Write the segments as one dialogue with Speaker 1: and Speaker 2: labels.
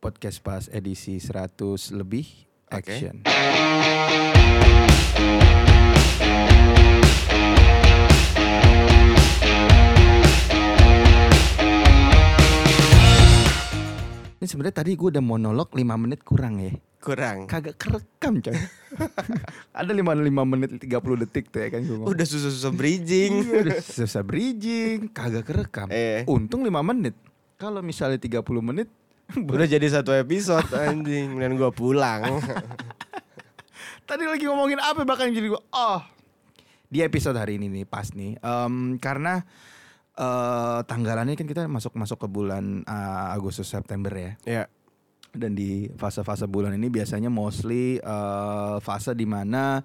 Speaker 1: podcast pas edisi 100 lebih action. Ini sebenarnya tadi gue udah monolog 5 menit kurang ya.
Speaker 2: Kurang.
Speaker 1: Kagak kerekam coy. Ada 55 menit 30 detik tuh ya kan gue
Speaker 2: Udah susah-susah bridging.
Speaker 1: Udah susah bridging, kagak kerekam.
Speaker 2: eh,
Speaker 1: Untung 5 menit. Kalau misalnya 30 menit Iya.
Speaker 2: udah jadi satu episode anjing dan gua pulang.
Speaker 1: Tadi lagi ngomongin apa bahkan jadi gue oh di episode hari ini nih pas nih Em, karena eh, tanggalannya kan kita masuk masuk ke bulan eh, Agustus September ya
Speaker 2: ya.
Speaker 1: dan di fase-fase bulan ini biasanya mostly eh, fase dimana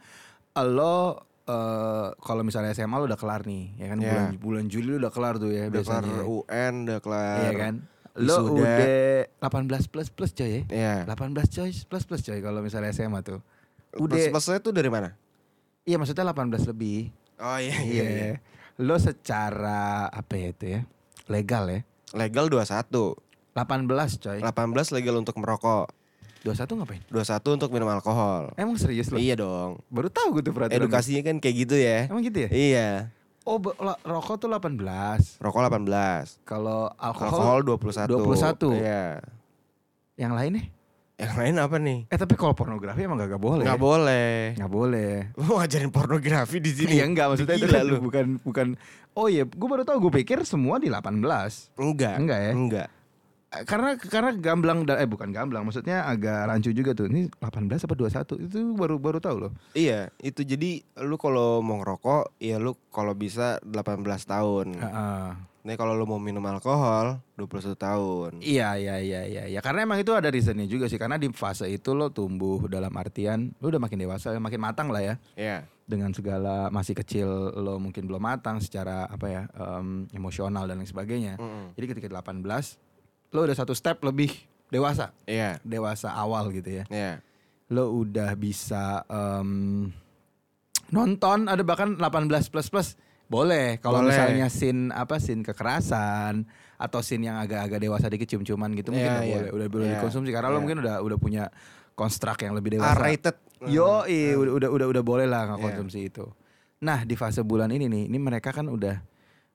Speaker 1: lo eh, kalau misalnya SMA lo udah kelar nih ya kan
Speaker 2: Ya.
Speaker 1: bulan bulan Juli lo udah kelar tuh ya
Speaker 2: Udah kelar
Speaker 1: biasanya
Speaker 2: UN, udah kelar.
Speaker 1: Iya kan lo
Speaker 2: wisuda.
Speaker 1: udah 18 plus plus coy ya
Speaker 2: Iya.
Speaker 1: 18 coy plus plus coy kalau misalnya SMA tuh
Speaker 2: Udah.
Speaker 1: udah
Speaker 2: Maksudnya tuh dari mana?
Speaker 1: Iya maksudnya 18 lebih.
Speaker 2: Oh iya iya. iya.
Speaker 1: Iya. Lo secara apa ya itu ya? Legal ya.
Speaker 2: Legal 21,
Speaker 1: 18 coy.
Speaker 2: 18 legal untuk merokok,
Speaker 1: 21 ngapain?
Speaker 2: 21 untuk minum alkohol.
Speaker 1: Emang serius lo?
Speaker 2: Iya dong.
Speaker 1: Baru tahu gue tuh peraturan.
Speaker 2: Edukasinya kan kayak gitu ya.
Speaker 1: Emang gitu ya?
Speaker 2: Iya.
Speaker 1: Oh, be- la- rokok tuh 18.
Speaker 2: Rokok 18,
Speaker 1: Kalau alkohol,
Speaker 2: alkohol 21.
Speaker 1: 21.
Speaker 2: Iya.
Speaker 1: yang lainnya?
Speaker 2: Yang lain apa nih?
Speaker 1: Eh tapi kalau pornografi emang gak, boleh.
Speaker 2: Nggak
Speaker 1: ya?
Speaker 2: boleh.
Speaker 1: Nggak boleh.
Speaker 2: Lu ngajarin pornografi di sini.
Speaker 1: Iya enggak maksudnya itu
Speaker 2: Gila
Speaker 1: kan
Speaker 2: lu.
Speaker 1: bukan bukan Oh iya, gue baru tahu gue pikir semua di 18.
Speaker 2: Enggak.
Speaker 1: Enggak ya?
Speaker 2: Enggak.
Speaker 1: Eh, Karena karena gamblang dan- eh bukan gamblang, maksudnya agak rancu juga tuh. Ini 18 apa 21? Itu baru baru tahu loh.
Speaker 2: Iya, itu jadi lu kalau mau ngerokok, ya lu kalau bisa 18 tahun.
Speaker 1: Heeh.
Speaker 2: Nah, kalau lu mau minum alkohol 21 tahun.
Speaker 1: Iya iya iya iya ya. karena emang itu ada reasonnya juga sih karena di fase itu lo tumbuh dalam artian lo udah makin dewasa makin matang lah ya
Speaker 2: Iya.
Speaker 1: dengan segala masih kecil lo mungkin belum matang secara apa ya em, emosional dan lain sebagainya
Speaker 2: Mm-mm.
Speaker 1: jadi ketika 18 lo udah satu step lebih dewasa
Speaker 2: Iya.
Speaker 1: dewasa awal gitu ya
Speaker 2: Iya.
Speaker 1: lo udah bisa em, nonton ada bahkan 18 plus plus boleh kalau
Speaker 2: Boleh.
Speaker 1: misalnya scene apa scene kekerasan atau scene yang agak-agak dewasa dikit cium-ciuman gitu mungkin udah
Speaker 2: Iya, iya.
Speaker 1: boleh udah boleh
Speaker 2: Iya,
Speaker 1: dikonsumsi karena lo
Speaker 2: iya.
Speaker 1: mungkin udah udah punya konstruk yang lebih
Speaker 2: R
Speaker 1: dewasa.
Speaker 2: rated.
Speaker 1: Yo, udah udah udah udah boleh lah nggak
Speaker 2: Hmm. Iya.
Speaker 1: konsumsi itu. Nah di fase bulan ini nih, ini mereka kan udah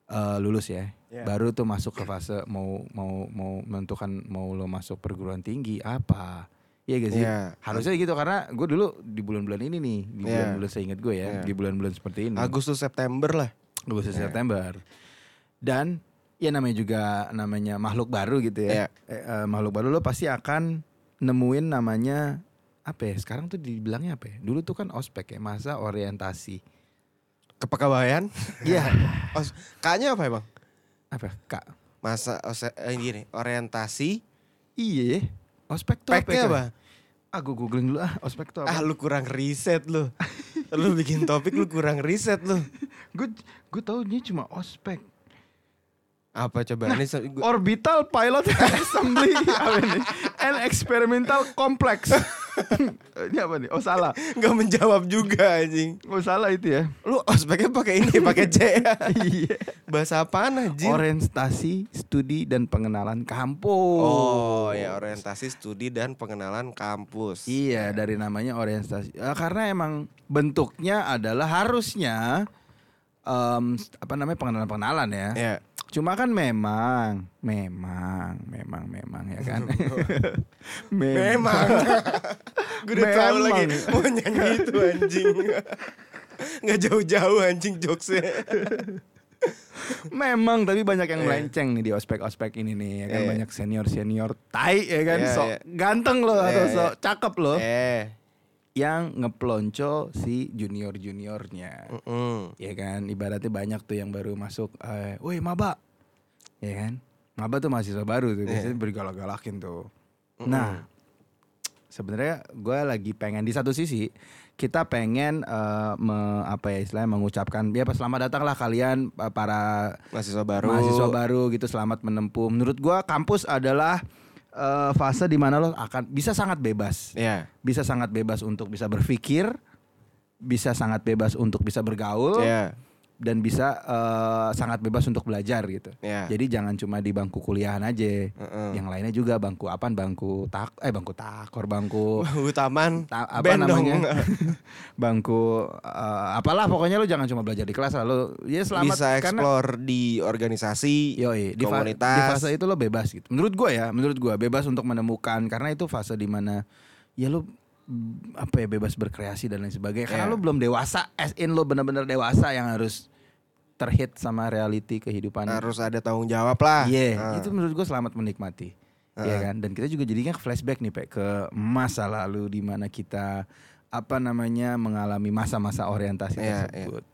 Speaker 1: eh, lulus ya,
Speaker 2: Iya.
Speaker 1: baru tuh masuk ke fase mau mau mau menentukan mau lo masuk perguruan tinggi apa, iya gak sih?
Speaker 2: Iya.
Speaker 1: Harusnya gitu karena gue dulu di bulan-bulan ini nih, di
Speaker 2: Iya.
Speaker 1: bulan-bulan seingat gue ya,
Speaker 2: Iya.
Speaker 1: di bulan-bulan seperti ini,
Speaker 2: Agustus September lah.
Speaker 1: Agustus
Speaker 2: Iya.
Speaker 1: September, dan ya namanya juga namanya makhluk baru gitu ya,
Speaker 2: Iya.
Speaker 1: Eh, eh, makhluk baru lo pasti akan nemuin namanya apa ya? Sekarang tuh dibilangnya apa ya? Dulu tuh kan ospek ya, masa orientasi.
Speaker 2: Kepakabayan.
Speaker 1: Iya.
Speaker 2: Os, K-nya apa emang?
Speaker 1: apa? ya, Kak.
Speaker 2: Masa ose, eh, gini, orientasi.
Speaker 1: Iya. ya. Ospek tuh apa? ya,
Speaker 2: Pack-nya
Speaker 1: Kak?
Speaker 2: apa?
Speaker 1: Ah, gue googling dulu ah, ospek tuh
Speaker 2: Ah,
Speaker 1: apa?
Speaker 2: lu kurang riset lu. lu bikin topik lu kurang riset lu.
Speaker 1: Gue gue tahu ini cuma ospek. Nah.
Speaker 2: Apa coba ini se- gua-
Speaker 1: Orbital Pilot Assembly apa ini? and Experimental Complex. ini apa nih? Oh salah.
Speaker 2: nggak menjawab juga anjing.
Speaker 1: Oh salah itu ya.
Speaker 2: Lu ospeknya pakai ini, pakai C ya.
Speaker 1: Iya.
Speaker 2: Bahasa apaan anjing?
Speaker 1: Orientasi, studi dan pengenalan kampus.
Speaker 2: oh, ya orientasi studi dan pengenalan kampus.
Speaker 1: Iya dari namanya orientasi Eh, karena emang bentuknya adalah harusnya em, apa namanya pengenalan pengenalan ya.
Speaker 2: Ya.
Speaker 1: Cuma kan memang, memang, memang, memang ya kan. memang.
Speaker 2: Memang. Gue udah tahu
Speaker 1: Memang.
Speaker 2: lagi mau nyanyi itu anjing. Nggak jauh-jauh anjing jokesnya.
Speaker 1: Memang tapi banyak yang
Speaker 2: Iya.
Speaker 1: melenceng nih di ospek-ospek ini nih ya kan
Speaker 2: Iya.
Speaker 1: banyak senior-senior tai ya kan
Speaker 2: Iya,
Speaker 1: sok
Speaker 2: iya.
Speaker 1: ganteng loh atau
Speaker 2: Iya,
Speaker 1: sok cakep loh
Speaker 2: Eh.
Speaker 1: yang ngeplonco si junior-juniornya.
Speaker 2: Mm.
Speaker 1: ya kan ibaratnya banyak tuh yang baru masuk eh woi maba ya kan maba tuh mahasiswa baru tuh biasanya bergalak-galakin tuh nah sebenarnya gue lagi pengen di satu sisi kita pengen eh, me- apa ya istilahnya mengucapkan ya pas selamat datanglah kalian eh, para
Speaker 2: Mahasiswa baru.
Speaker 1: mahasiswa baru gitu selamat menempuh menurut gue kampus adalah eh, fase di mana lo akan bisa sangat bebas
Speaker 2: Ya.
Speaker 1: bisa sangat bebas untuk bisa berpikir bisa sangat bebas untuk bisa bergaul
Speaker 2: Ya.
Speaker 1: dan bisa eh, sangat bebas untuk belajar gitu.
Speaker 2: Ya.
Speaker 1: Jadi jangan cuma di bangku kuliahan aja.
Speaker 2: Heeh.
Speaker 1: Yang lainnya juga bangku apaan? Bangku tak eh bangku takor, bangku
Speaker 2: Bau taman.
Speaker 1: ta- apa
Speaker 2: band dong.
Speaker 1: namanya? bangku eh, apalah pokoknya lu jangan cuma belajar di kelas lah lu. Ya selamat
Speaker 2: Bisa
Speaker 1: karena
Speaker 2: explore di organisasi.
Speaker 1: Yoi, di, fa-
Speaker 2: komunitas.
Speaker 1: di fase itu lo bebas gitu. Menurut gua ya, menurut gua bebas untuk menemukan karena itu fase dimana ya lo mm, apa ya bebas berkreasi dan lain sebagainya. Karena
Speaker 2: Iya.
Speaker 1: lo belum dewasa, as in lo bener-bener dewasa yang harus terhit sama reality kehidupan.
Speaker 2: Harus ada tanggung jawab lah. Ah.
Speaker 1: Iya,
Speaker 2: Heeh.
Speaker 1: itu menurut gua selamat menikmati.
Speaker 2: Ah.
Speaker 1: Iya kan? Dan kita juga jadinya flashback nih Pak ke masa lalu di mana kita apa namanya mengalami masa-masa orientasi
Speaker 2: Iya, Hmm.
Speaker 1: tersebut.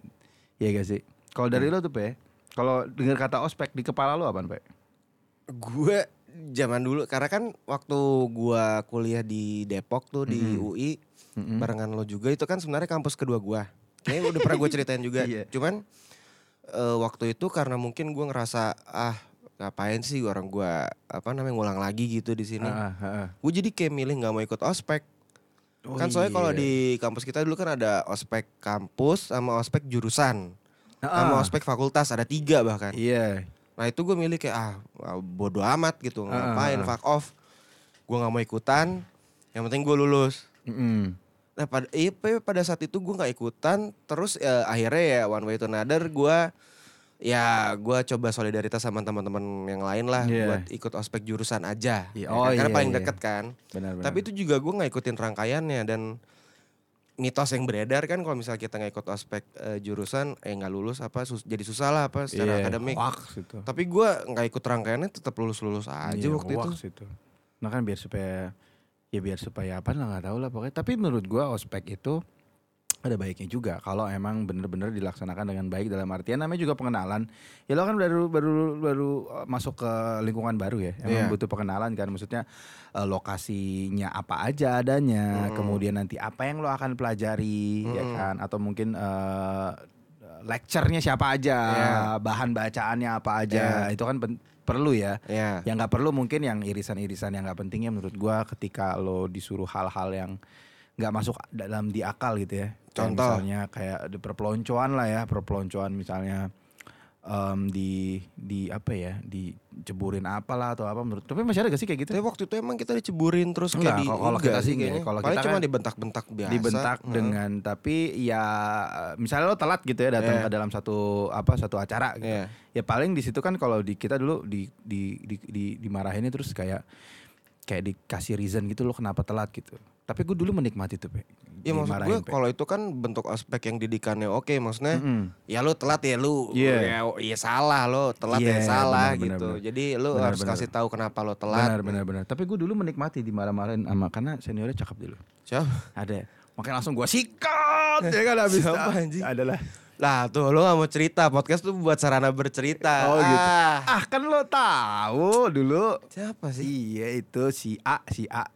Speaker 1: Iya gak sih? Kalau dari lo tuh Pak, kalau dengar kata ospek di kepala lo apaan Pak?
Speaker 2: Gue zaman dulu karena kan waktu gua kuliah di Depok tuh di
Speaker 1: Mm-mm.
Speaker 2: UI
Speaker 1: Mm-mm.
Speaker 2: barengan lo juga itu kan sebenarnya kampus kedua gua. Ini udah pernah gue ceritain juga.
Speaker 1: Iya.
Speaker 2: Cuman eh, waktu itu karena mungkin gua ngerasa ah ngapain sih orang gua apa namanya ngulang lagi gitu di sini.
Speaker 1: Ah, ah, ah.
Speaker 2: Gue jadi kayak milih nggak mau ikut ospek.
Speaker 1: Oh
Speaker 2: kan soalnya
Speaker 1: iya.
Speaker 2: kalau di kampus kita dulu kan ada ospek kampus sama ospek jurusan,
Speaker 1: Ah,
Speaker 2: sama
Speaker 1: ah.
Speaker 2: ospek fakultas ada tiga bahkan.
Speaker 1: Iya.
Speaker 2: Nah itu gue milih kayak ah ah, bodo amat gitu
Speaker 1: Ah,
Speaker 2: ngapain
Speaker 1: ah, ah.
Speaker 2: fuck off. Gue nggak mau ikutan. Yang penting gue lulus.
Speaker 1: Mm-mm.
Speaker 2: Nah pada iya, pe- pada saat itu gue nggak ikutan. Terus eh, akhirnya ya one way to another gue ya gue coba solidaritas sama teman-teman yang lain lah
Speaker 1: Iya.
Speaker 2: buat ikut ospek jurusan aja.
Speaker 1: Iya,
Speaker 2: Ya
Speaker 1: oh
Speaker 2: kan? Karena
Speaker 1: iya,
Speaker 2: paling
Speaker 1: iya.
Speaker 2: deket kan.
Speaker 1: Benar benar.
Speaker 2: Tapi itu juga gue nggak ikutin rangkaiannya dan mitos yang beredar kan kalau misalnya kita nggak ikut ospek eh, jurusan eh nggak lulus apa sus- jadi susah lah apa secara
Speaker 1: Iya,
Speaker 2: akademik. gitu.
Speaker 1: hoax itu.
Speaker 2: Tapi gue nggak ikut rangkaiannya tetap lulus-lulus aja
Speaker 1: Iya,
Speaker 2: waktu itu.
Speaker 1: hoax itu. Nah kan biar supaya ya biar supaya apa lah nggak tahu lah pokoknya. Tapi menurut gua ospek itu ada baiknya juga kalau emang bener-bener dilaksanakan dengan baik dalam artian namanya juga pengenalan. Ya lo kan baru baru baru eh, masuk ke lingkungan baru ya. Emang
Speaker 2: Iya.
Speaker 1: butuh pengenalan kan maksudnya eh, lokasinya apa aja adanya,
Speaker 2: Mm-mm.
Speaker 1: kemudian nanti apa yang lo akan pelajari ya
Speaker 2: Mm-mm.
Speaker 1: kan atau mungkin eh lecture-nya siapa aja,
Speaker 2: Iya.
Speaker 1: bahan bacaannya apa aja. Itu kan pen- perlu ya
Speaker 2: Ya.
Speaker 1: yang nggak perlu mungkin yang irisan-irisan yang nggak penting ya menurut gua ketika lo disuruh hal-hal yang nggak masuk dalam di akal gitu ya Kayak
Speaker 2: Contoh.
Speaker 1: misalnya kayak di perpeloncoan lah ya perpeloncoan misalnya em, di di apa ya diceburin apalah atau apa menurut tapi masih ada gak sih kayak gitu
Speaker 2: Tapi waktu itu emang kita diceburin terus
Speaker 1: Enggak,
Speaker 2: kayak di
Speaker 1: kalau- kalau
Speaker 2: enggak
Speaker 1: kita sih enggak.
Speaker 2: kayaknya.
Speaker 1: Kalau
Speaker 2: Paling
Speaker 1: kita
Speaker 2: cuma
Speaker 1: kan
Speaker 2: dibentak-bentak biasa.
Speaker 1: dibentak
Speaker 2: Heeh.
Speaker 1: dengan tapi ya misalnya lo telat gitu ya datang
Speaker 2: Iya.
Speaker 1: ke dalam satu apa satu acara gitu
Speaker 2: Iya.
Speaker 1: ya paling di situ kan kalau di kita dulu di di di, di dimarahinnya terus kayak kayak dikasih reason gitu lo kenapa telat gitu tapi gue dulu menikmati tuh pe
Speaker 2: Ya maksud gue
Speaker 1: Dimarahin, Pe.
Speaker 2: kalau itu kan bentuk aspek yang didikannya oke maksudnya
Speaker 1: Mm-mm.
Speaker 2: ya lu telat ya lu
Speaker 1: Iya.
Speaker 2: ya, ya salah lo telat
Speaker 1: Iya,
Speaker 2: ya salah
Speaker 1: benar, benar,
Speaker 2: gitu.
Speaker 1: benar.
Speaker 2: Jadi lu
Speaker 1: Benar,
Speaker 2: harus
Speaker 1: benar.
Speaker 2: kasih tahu kenapa lo telat. gitu.
Speaker 1: benar benar benar tapi gue dulu menikmati dimarah-marahin sama karena seniornya cakep dulu
Speaker 2: Siapa?
Speaker 1: ada makanya langsung gue sikat ya kan habis
Speaker 2: Siapa, anjing?
Speaker 1: adalah
Speaker 2: Lah tuh lo gak mau cerita podcast tuh buat sarana bercerita.
Speaker 1: Oh, gitu.
Speaker 2: Ah.
Speaker 1: ah kan lo tahu dulu
Speaker 2: Siapa sih?
Speaker 1: iya itu si A si A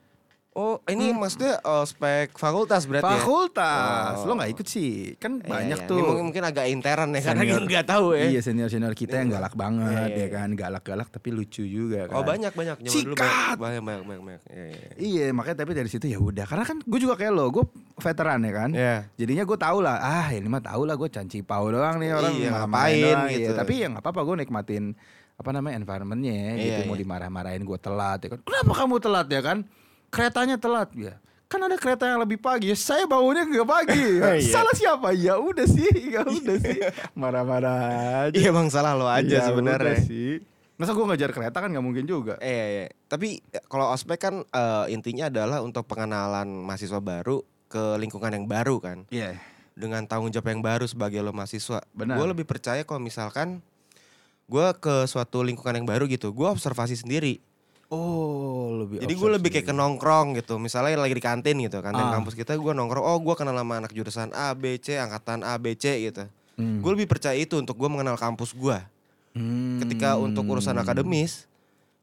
Speaker 2: Oh ini maksudnya ospek fakultas berarti ya?
Speaker 1: Hmm. fakultas
Speaker 2: Oh.
Speaker 1: lo nggak ikut sih kan
Speaker 2: Iya,
Speaker 1: banyak
Speaker 2: iya.
Speaker 1: tuh
Speaker 2: Ini mungkin, mungkin agak intern ya karena
Speaker 1: Senior.
Speaker 2: nggak tahu ya.
Speaker 1: Iya senior senior kita yang galak banget ya
Speaker 2: Iya,
Speaker 1: kan galak-galak tapi lucu juga kan.
Speaker 2: Oh banyak banyak zaman dulu
Speaker 1: Sikat!
Speaker 2: banyak banyak banyak banyak. banyak. Iya, iya.
Speaker 1: Iya makanya tapi dari situ ya udah karena kan gue juga kayak lo gue veteran ya kan.
Speaker 2: Iya.
Speaker 1: Jadinya gue tau lah ah ini mah tau lah gue canci pau doang nih orang
Speaker 2: Iya,
Speaker 1: malah
Speaker 2: ngapain
Speaker 1: main doang,
Speaker 2: gitu.
Speaker 1: iya. Tapi yang apa apa gue nikmatin apa namanya environmentnya ya,
Speaker 2: Iya,
Speaker 1: gitu mau
Speaker 2: iya.
Speaker 1: dimarah-marahin gue telat ya kan. Kenapa kamu telat ya kan? Keretanya telat ya. Kan ada kereta yang lebih pagi. Ya, saya baunya nggak pagi.
Speaker 2: Iya.
Speaker 1: Salah siapa? Ya udah sih, ya udah sih. Marah-marah aja.
Speaker 2: Iya bang salah lo aja
Speaker 1: Ya
Speaker 2: sebenarnya.
Speaker 1: udah sih. Masa gue ngejar kereta kan nggak mungkin juga.
Speaker 2: Eh, Iya, iya. Tapi eh, kalau ospek kan eh, intinya adalah untuk pengenalan mahasiswa baru ke lingkungan yang baru kan,
Speaker 1: Iya.
Speaker 2: dengan tanggung jawab yang baru sebagai lo mahasiswa.
Speaker 1: Benar.
Speaker 2: Gue lebih percaya kalau misalkan gue ke suatu lingkungan yang baru gitu, gue observasi sendiri.
Speaker 1: Oh lebih.
Speaker 2: Jadi gue lebih kayak ke nongkrong gitu. Misalnya lagi di kantin gitu, kantin
Speaker 1: Ah.
Speaker 2: kampus kita gue nongkrong. Oh gue kenal sama anak jurusan A, B, C, angkatan A, B, C gitu.
Speaker 1: Hmm.
Speaker 2: Gue lebih percaya itu untuk gue mengenal kampus gue.
Speaker 1: Hmm.
Speaker 2: Ketika untuk urusan akademis,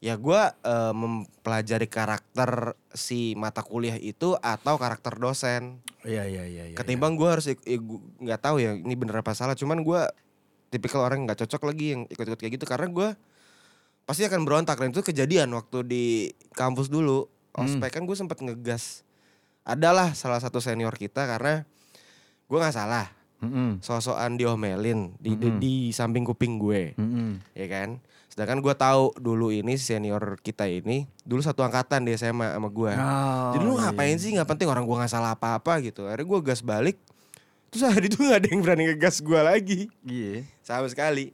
Speaker 2: ya gue eh, mempelajari karakter si mata kuliah itu atau karakter dosen.
Speaker 1: Iya iya iya. iya,
Speaker 2: Ketimbang gue harus ik- ik- gu- nggak tahu ya ini bener apa salah. Cuman gue tipikal orang yang nggak cocok lagi yang ikut-ikut kayak gitu karena gue pasti akan berontak dan itu kejadian waktu di kampus dulu.
Speaker 1: Hmm.
Speaker 2: Ospek kan gue sempat ngegas. Adalah salah satu senior kita karena gue nggak salah.
Speaker 1: iya. Mm-mm.
Speaker 2: sosokan diomelin di,
Speaker 1: Hmm.
Speaker 2: di, di samping kuping gue
Speaker 1: Mm-mm.
Speaker 2: ya kan sedangkan gue tahu dulu ini senior kita ini dulu satu angkatan di SMA sama gue
Speaker 1: Oh,
Speaker 2: jadi lu
Speaker 1: iya.
Speaker 2: ngapain sih nggak penting orang gue nggak salah apa-apa gitu akhirnya gue gas balik terus hari itu nggak ada yang berani ngegas gue lagi
Speaker 1: Iya.
Speaker 2: sama sekali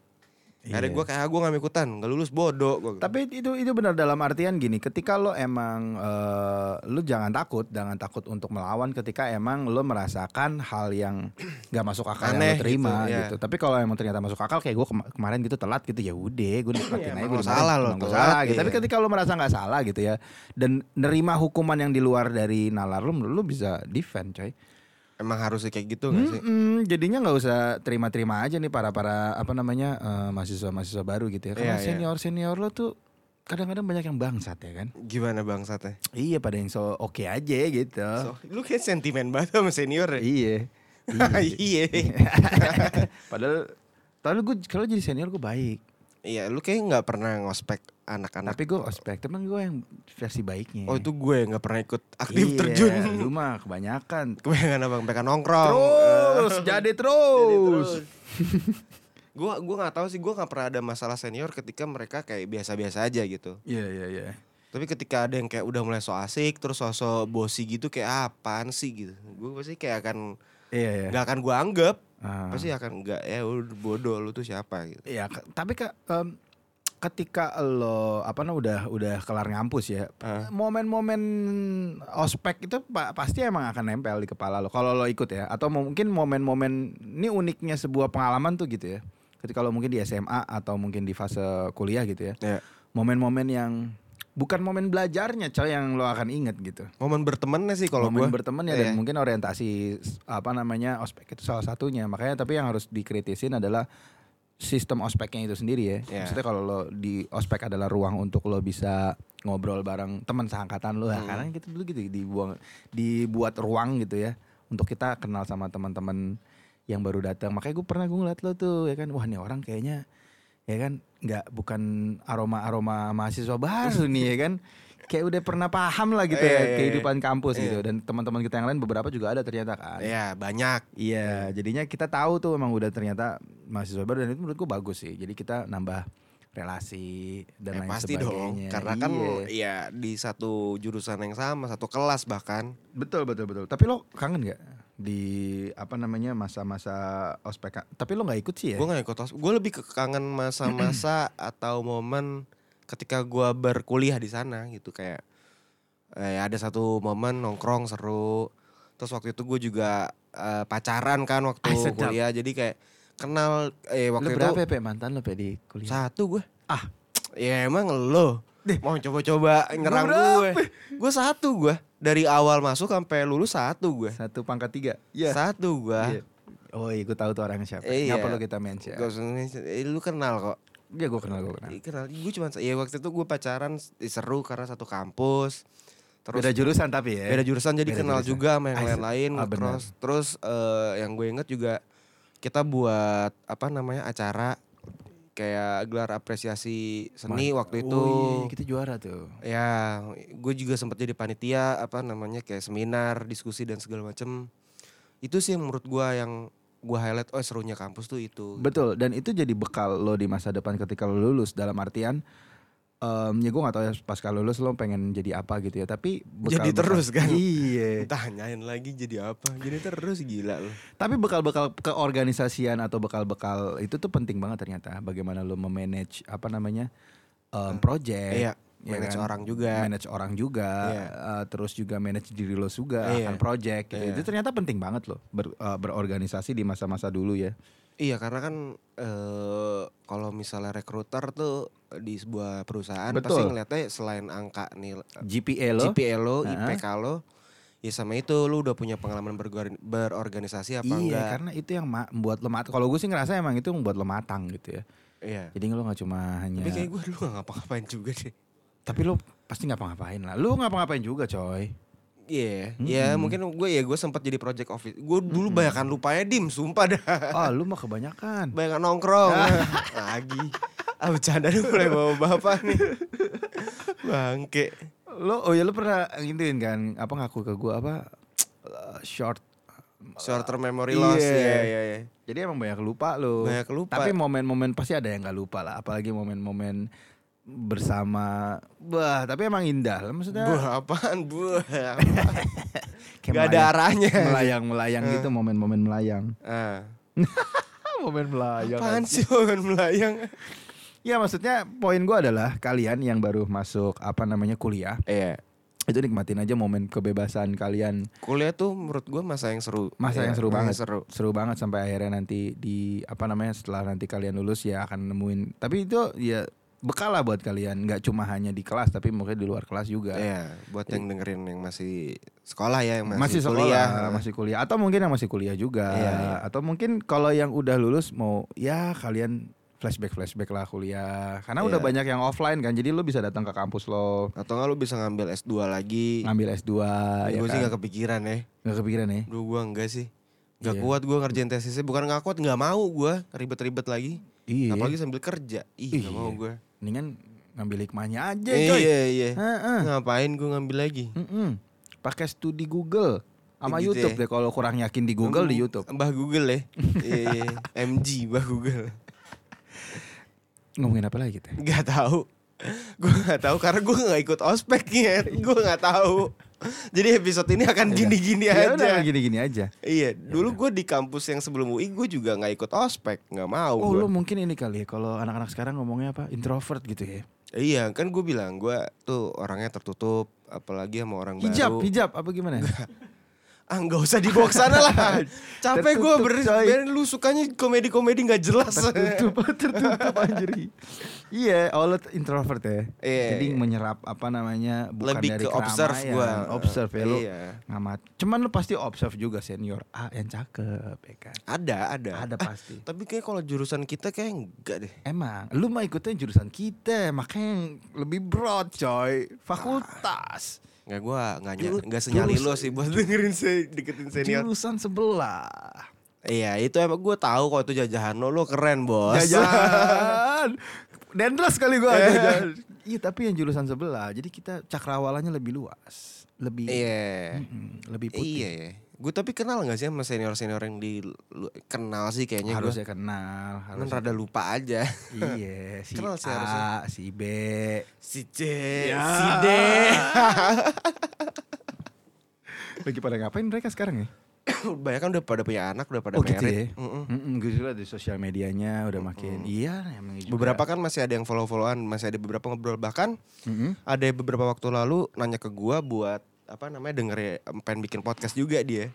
Speaker 2: akhirnya gue kayak ah, gue nggak ikutan nggak lulus bodoh gue
Speaker 1: Tapi itu itu benar dalam artian gini, ketika lo emang eh, lo jangan takut, jangan takut untuk melawan ketika emang lo merasakan hal yang nggak masuk akal yang
Speaker 2: Aneh
Speaker 1: lo terima
Speaker 2: gitu,
Speaker 1: gitu.
Speaker 2: ya.
Speaker 1: Tapi kalau emang ternyata masuk akal kayak gue kema- kemarin gitu telat gitu ya udah gue nikmatin aja
Speaker 2: Iya, emang
Speaker 1: gue
Speaker 2: lo salah lo
Speaker 1: gue
Speaker 2: telat,
Speaker 1: salah gitu.
Speaker 2: iya.
Speaker 1: Tapi ketika lo merasa nggak salah gitu ya dan nerima hukuman yang di luar dari nalar lo, menurut lo bisa defend coy.
Speaker 2: emang harusnya kayak gitu nggak sih
Speaker 1: Mm-mm, jadinya nggak usah terima-terima aja nih para para apa namanya eh, mahasiswa-mahasiswa baru gitu ya. Karena
Speaker 2: Iya, iya.
Speaker 1: senior senior lo tuh kadang-kadang banyak yang bangsat ya kan.
Speaker 2: gimana bangsatnya
Speaker 1: Iya pada yang so oke aja gitu.
Speaker 2: So, lu kayak sentimen banget sama senior ya.
Speaker 1: Iya.
Speaker 2: Iya.
Speaker 1: Padahal padahal gue kalau jadi senior gue baik.
Speaker 2: Iya, lu kayak nggak pernah ngospek anak-anak.
Speaker 1: Tapi gue ospek temen gue yang versi baiknya.
Speaker 2: Oh itu gue nggak pernah ikut aktif terjun.
Speaker 1: Iya, Lu mah kebanyakan.
Speaker 2: Kebanyakan abang mereka nongkrong.
Speaker 1: Terus
Speaker 2: Eh,
Speaker 1: jadi
Speaker 2: jadi
Speaker 1: terus.
Speaker 2: Gue gue nggak tahu sih, gue nggak pernah ada masalah senior ketika mereka kayak biasa-biasa aja gitu.
Speaker 1: Iya iya iya.
Speaker 2: Tapi ketika ada yang kayak udah mulai so asik, terus sosok bosi gitu kayak "Ah, apaan sih gitu. Gue pasti kayak akan
Speaker 1: Iya iya.
Speaker 2: nggak akan gue anggap.
Speaker 1: Ah.
Speaker 2: Pasti akan nggak ya udah bodoh lu tuh siapa gitu.
Speaker 1: Iya, ke- tapi ke, em, ketika lo apa namanya udah udah kelar ngampus ya,
Speaker 2: Ah.
Speaker 1: momen-momen ospek itu pa- pasti emang akan nempel di kepala lo. Kalau lo ikut ya, atau mo- mungkin momen-momen ini uniknya sebuah pengalaman tuh gitu ya. Ketika lo mungkin di SMA atau mungkin di fase kuliah gitu ya,
Speaker 2: Ya.
Speaker 1: momen-momen yang bukan momen belajarnya coy yang lo akan inget gitu.
Speaker 2: Momen bertemannya sih kalau Iya. gue.
Speaker 1: momen berteman ya dan mungkin orientasi s- apa namanya ospek itu salah satunya. Makanya tapi yang harus dikritisin adalah sistem ospeknya itu sendiri ya.
Speaker 2: Iya.
Speaker 1: Maksudnya kalau lo di ospek adalah ruang untuk lo bisa ngobrol bareng teman seangkatan lo. Nah,
Speaker 2: Hmm.
Speaker 1: Karena kita dulu gitu dibuang dibuat ruang gitu ya untuk kita kenal sama teman-teman yang baru datang. Makanya gue pernah gue ngeliat lo tuh ya kan wah nih orang kayaknya ya kan nggak bukan aroma-aroma mahasiswa baru nih ya kan. Kayak udah pernah paham lah gitu
Speaker 2: Iya,
Speaker 1: ya
Speaker 2: iya, iya.
Speaker 1: kehidupan kampus
Speaker 2: Iya.
Speaker 1: gitu dan teman-teman kita yang lain beberapa juga ada ternyata kan. Iya,
Speaker 2: Iya banyak.
Speaker 1: jadinya kita tahu tuh emang udah ternyata mahasiswa baru dan itu menurut gua bagus sih. Jadi kita nambah relasi dan
Speaker 2: Eh,
Speaker 1: lain
Speaker 2: pasti dong,
Speaker 1: sebagainya.
Speaker 2: karena kan
Speaker 1: Iya.
Speaker 2: ya di satu jurusan yang sama, satu kelas bahkan.
Speaker 1: betul betul betul. Tapi lo kangen nggak di apa namanya masa-masa ospek? Tapi lo nggak ikut sih ya?
Speaker 2: Gue nggak ikut gue lebih ke kangen masa-masa atau momen ketika gue berkuliah di sana gitu kayak eh, ada satu momen nongkrong seru. Terus waktu itu gue juga eh, pacaran kan waktu
Speaker 1: Ah, sedap.
Speaker 2: kuliah, jadi kayak kenal eh
Speaker 1: Lo
Speaker 2: waktu
Speaker 1: berapa
Speaker 2: itu
Speaker 1: ya, Pe, mantan lo Pe, di kuliah?
Speaker 2: satu gue.
Speaker 1: Ah.
Speaker 2: ya emang lo mau coba-coba nyerang
Speaker 1: Gua berapa?
Speaker 2: gue. Gue satu gue dari awal masuk sampai lulus satu gue.
Speaker 1: Satu pangkat tiga.
Speaker 2: Satu gua.
Speaker 1: Iya. Oh iya, gue tahu tuh orang siapa.
Speaker 2: Iya.
Speaker 1: Nggak perlu kita mention.
Speaker 2: Gak usah mention. Eh, lu kenal kok.
Speaker 1: Iya, gue kenal, gue kenal.
Speaker 2: Ih, kenal. Gue cuma ya waktu itu gue pacaran eh, seru karena satu kampus. Terus
Speaker 1: Beda jurusan tapi ya.
Speaker 2: beda jurusan jadi
Speaker 1: Beda
Speaker 2: kenal
Speaker 1: jurusan.
Speaker 2: juga sama yang
Speaker 1: Ah,
Speaker 2: lain-lain
Speaker 1: ah, benar.
Speaker 2: terus terus eh, yang gue inget juga kita buat apa namanya acara kayak gelar apresiasi seni
Speaker 1: Man-
Speaker 2: waktu itu.
Speaker 1: Oh iya, kita juara tuh.
Speaker 2: Ya, gue juga sempat jadi panitia apa namanya kayak seminar, diskusi dan segala macem. Itu sih yang menurut gue yang gue highlight. Oh serunya kampus tuh itu.
Speaker 1: Betul, dan itu jadi bekal lo di masa depan ketika lo lulus dalam artian em ya gue gak tau ya pasca lulus lo pengen jadi apa gitu ya tapi bekal
Speaker 2: Jadi terus kan?
Speaker 1: iya
Speaker 2: Ditanyain lagi jadi apa? Jadi terus gila loh.
Speaker 1: tapi bekal-bekal keorganisasian atau bekal-bekal itu tuh penting banget ternyata bagaimana lo memanage apa namanya em project
Speaker 2: Iya,
Speaker 1: ya
Speaker 2: manage
Speaker 1: kan?
Speaker 2: orang juga.
Speaker 1: manage orang juga
Speaker 2: Iya.
Speaker 1: eh, terus juga manage diri lo juga
Speaker 2: Iya.
Speaker 1: akan project gitu.
Speaker 2: Iya.
Speaker 1: itu ternyata penting banget lo ber- eh, berorganisasi di masa-masa dulu ya
Speaker 2: Iya karena kan eh kalau misalnya rekruter tuh di sebuah perusahaan pasti
Speaker 1: Betul.
Speaker 2: ngeliatnya selain angka nil
Speaker 1: GPA lo
Speaker 2: GPA lo,
Speaker 1: Heeh.
Speaker 2: IPK lo, ya sama itu lu udah punya pengalaman bergor- berorganisasi apa
Speaker 1: iya,
Speaker 2: enggak?
Speaker 1: karena itu yang ma- membuat lo matang. Kalau gue sih ngerasa emang itu membuat lo matang gitu ya.
Speaker 2: Iya.
Speaker 1: Jadi lo nggak cuma hanya.
Speaker 2: Tapi
Speaker 1: Tapi,
Speaker 2: kayak gue dulu gak ngapa-ngapain juga deh.
Speaker 1: lo pasti ngapa-ngapain lah. Lo ngapa-ngapain juga, coy.
Speaker 2: Iya, ya mungkin gue ya gue sempat jadi project office. Gue dulu banyakan lupanya dim, sumpah dah.
Speaker 1: Ah, lo mah kebanyakan.
Speaker 2: Banyakan nongkrong lagi. Ah bercanda nih mulai bawa bapak nih. Bangke.
Speaker 1: Lo oh ya lo pernah gituin kan? Apa ngaku ke gue apa? short
Speaker 2: short term
Speaker 1: Iya.
Speaker 2: memory loss iya iya iya
Speaker 1: Jadi emang banyak lupa lo.
Speaker 2: Banyak lupa.
Speaker 1: Tapi momen-momen pasti ada yang nggak lupa lah. Apalagi momen-momen bersama. Wah, tapi emang indah lah maksudnya.
Speaker 2: Buah apaan buah apa?
Speaker 1: Kayak
Speaker 2: Gak ada arahnya
Speaker 1: melayang, melayang gitu momen-momen melayang.
Speaker 2: Ah.
Speaker 1: momen melayang.
Speaker 2: Apaan sih bangun melayang
Speaker 1: Ya maksudnya poin gua adalah kalian yang baru masuk apa namanya kuliah
Speaker 2: Iya
Speaker 1: itu nikmatin aja momen kebebasan kalian
Speaker 2: Kuliah tuh menurut gue masa yang seru
Speaker 1: masa
Speaker 2: Iya,
Speaker 1: yang seru
Speaker 2: masa
Speaker 1: banget
Speaker 2: seru
Speaker 1: seru banget sampai akhirnya nanti di apa namanya setelah nanti kalian lulus ya akan nemuin tapi itu ya bekal lah buat kalian nggak cuma hanya di kelas tapi mungkin di luar kelas juga
Speaker 2: Iya buat yang dengerin yang masih sekolah ya yang
Speaker 1: masih,
Speaker 2: masih,
Speaker 1: sekolah
Speaker 2: kuliah
Speaker 1: masih kuliah atau mungkin yang masih kuliah juga
Speaker 2: Iya, iya.
Speaker 1: atau mungkin kalau yang udah lulus mau ya kalian flashback flashback lah kuliah karena udah
Speaker 2: Iya.
Speaker 1: banyak yang offline kan jadi lu bisa datang ke kampus lo
Speaker 2: Atau nggak lu bisa ngambil S2 lagi
Speaker 1: ngambil S2 ya
Speaker 2: Gue sih
Speaker 1: kan?
Speaker 2: gak kepikiran ya
Speaker 1: Gak kepikiran ya
Speaker 2: Duh gue enggak sih Gak
Speaker 1: Iya.
Speaker 2: kuat gue ngerjain tesisnya Bukan gak kuat gak mau gue Ribet-ribet lagi
Speaker 1: Iya
Speaker 2: Apalagi sambil kerja Ih
Speaker 1: Iya.
Speaker 2: gak mau gue
Speaker 1: Mendingan ngambil hikmahnya aja coy
Speaker 2: Iya iya
Speaker 1: Heeh.
Speaker 2: Ngapain gue ngambil lagi
Speaker 1: Mm-mm. Pakai studi Google sama
Speaker 2: Gitu
Speaker 1: YouTube
Speaker 2: ya.
Speaker 1: deh kalau kurang yakin di Google di YouTube.
Speaker 2: Mbah Google ya Iya iya MG Mbah Google
Speaker 1: Ngomongin apa lagi kita?
Speaker 2: Gak tahu Gue gak tahu karena gue gak ikut ospek ya Gue gak tahu Jadi episode ini akan gini-gini
Speaker 1: Ya udah Ya
Speaker 2: aja
Speaker 1: gini-gini aja.
Speaker 2: Iya dulu gue di kampus yang sebelum UI Gue juga gak ikut ospek Gak mau
Speaker 1: Oh, lu
Speaker 2: gua.
Speaker 1: mungkin ini kali ya kalau anak-anak sekarang ngomongnya apa? Introvert gitu ya.
Speaker 2: Iya kan gue bilang gue tuh orangnya tertutup Apalagi sama orang
Speaker 1: Hijab,
Speaker 2: baru
Speaker 1: hijab apa gimana?
Speaker 2: Ah nggak usah dibawa ke sana lah Capek gue
Speaker 1: Tertutup,
Speaker 2: ber-
Speaker 1: coy.
Speaker 2: biarin lu sukanya komedi-komedi gak jelas
Speaker 1: tertutup, tertutup anjir. Iya, all introvert ya.
Speaker 2: Iya,
Speaker 1: Jadi
Speaker 2: iya.
Speaker 1: menyerap apa namanya bukan
Speaker 2: Lebih
Speaker 1: dari
Speaker 2: ke observe
Speaker 1: keramaian.
Speaker 2: gua.
Speaker 1: Observe ya lu.
Speaker 2: Iya.
Speaker 1: Ngamat. Cuman lu pasti observe juga senior A yang cakep ya kan.
Speaker 2: Ada ada
Speaker 1: Ada pasti.
Speaker 2: Tapi kayak kalau jurusan kita kayak enggak deh
Speaker 1: Emang, lu mah ikutnya jurusan kita, makanya lebih broad coy, fakultas,
Speaker 2: Nggak gue nggak
Speaker 1: Jurus-
Speaker 2: nyari nggak senyali
Speaker 1: jurus-
Speaker 2: lo sih buat dengerin se deketin senior
Speaker 1: jurusan sebelah.
Speaker 2: Iya itu emang gue tahu kalau itu jajahan lo lo keren bos
Speaker 1: Jajan, dendros kali
Speaker 2: Eh.
Speaker 1: gua jajan. Iya tapi yang jurusan sebelah, jadi kita cakrawalanya lebih luas, lebih,
Speaker 2: Iya
Speaker 1: Mm-mm, lebih putih.
Speaker 2: Iya ya Gue tapi kenal gak sih sama senior-senior yang di lu- kenal sih kayaknya gue
Speaker 1: harusnya kenal,
Speaker 2: Cuman
Speaker 1: harusnya
Speaker 2: rada lupa aja
Speaker 1: iya si
Speaker 2: Kenal
Speaker 1: A,
Speaker 2: sih harusnya.
Speaker 1: si B.
Speaker 2: Si C,
Speaker 1: Ya.
Speaker 2: si D
Speaker 1: Lagi pada ngapain mereka sekarang ya?
Speaker 2: Banyak kan udah pada punya anak, udah pada
Speaker 1: Oh gitu ya.
Speaker 2: married. Mm-mm.
Speaker 1: Mm-mm, Gue juga di sosial medianya udah makin iya emang juga.
Speaker 2: Beberapa kan masih ada yang follow-followan, masih ada beberapa ngobrol bahkan
Speaker 1: Mm-mm.
Speaker 2: ada beberapa waktu lalu nanya ke gua buat apa namanya denger pengen bikin podcast juga dia.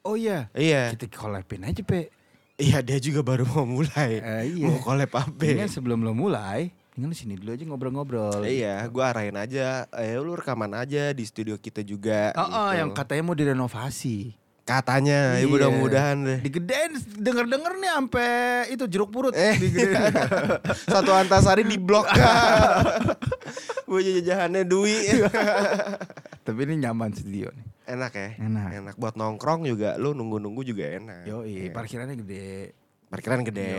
Speaker 1: Oh iya.
Speaker 2: Iya.
Speaker 1: Kita collabin aja, Pe.
Speaker 2: Iya, dia juga baru mau mulai.
Speaker 1: Eh, iya.
Speaker 2: Mau collab
Speaker 1: Mendingan kan
Speaker 2: apa?
Speaker 1: sebelum lo mulai, mendingan lo sini dulu aja ngobrol-ngobrol.
Speaker 2: Iya, gua arahin aja. Eh, lu rekaman aja di studio kita juga.
Speaker 1: Oh, oh,
Speaker 2: gitu.
Speaker 1: yang katanya mau direnovasi.
Speaker 2: katanya,
Speaker 1: Iya.
Speaker 2: ya mudah-mudahan deh.
Speaker 1: Digedein, denger-denger nih sampai itu jeruk purut.
Speaker 2: Eh,
Speaker 1: Digedein.
Speaker 2: satu antasari di blok. Gue jajahannya Dwi.
Speaker 1: Tapi ini nyaman studio nih.
Speaker 2: enak ya.
Speaker 1: Enak.
Speaker 2: Enak buat nongkrong juga. Lu nunggu-nunggu juga enak.
Speaker 1: Yoi,
Speaker 2: Iya.
Speaker 1: parkirannya gede.
Speaker 2: Parkiran gede.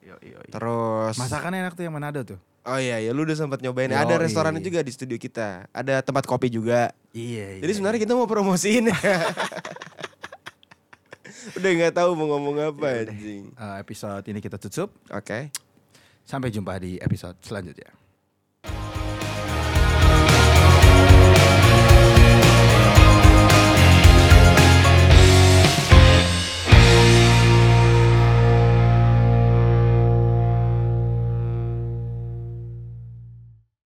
Speaker 1: Yoi, yoi.
Speaker 2: Terus
Speaker 1: Masakannya enak tuh yang Manado tuh.
Speaker 2: Oh iya ya lu udah sempat nyobain.
Speaker 1: Yoi.
Speaker 2: Ada restorannya juga di studio kita. Ada tempat kopi juga.
Speaker 1: Iya,
Speaker 2: Jadi sebenarnya kita mau promosiin ya. udah nggak tahu mau ngomong
Speaker 1: Iya,
Speaker 2: apa anjing.
Speaker 1: Eh, episode ini kita tutup.
Speaker 2: Oke.
Speaker 1: Sampai jumpa di episode selanjutnya.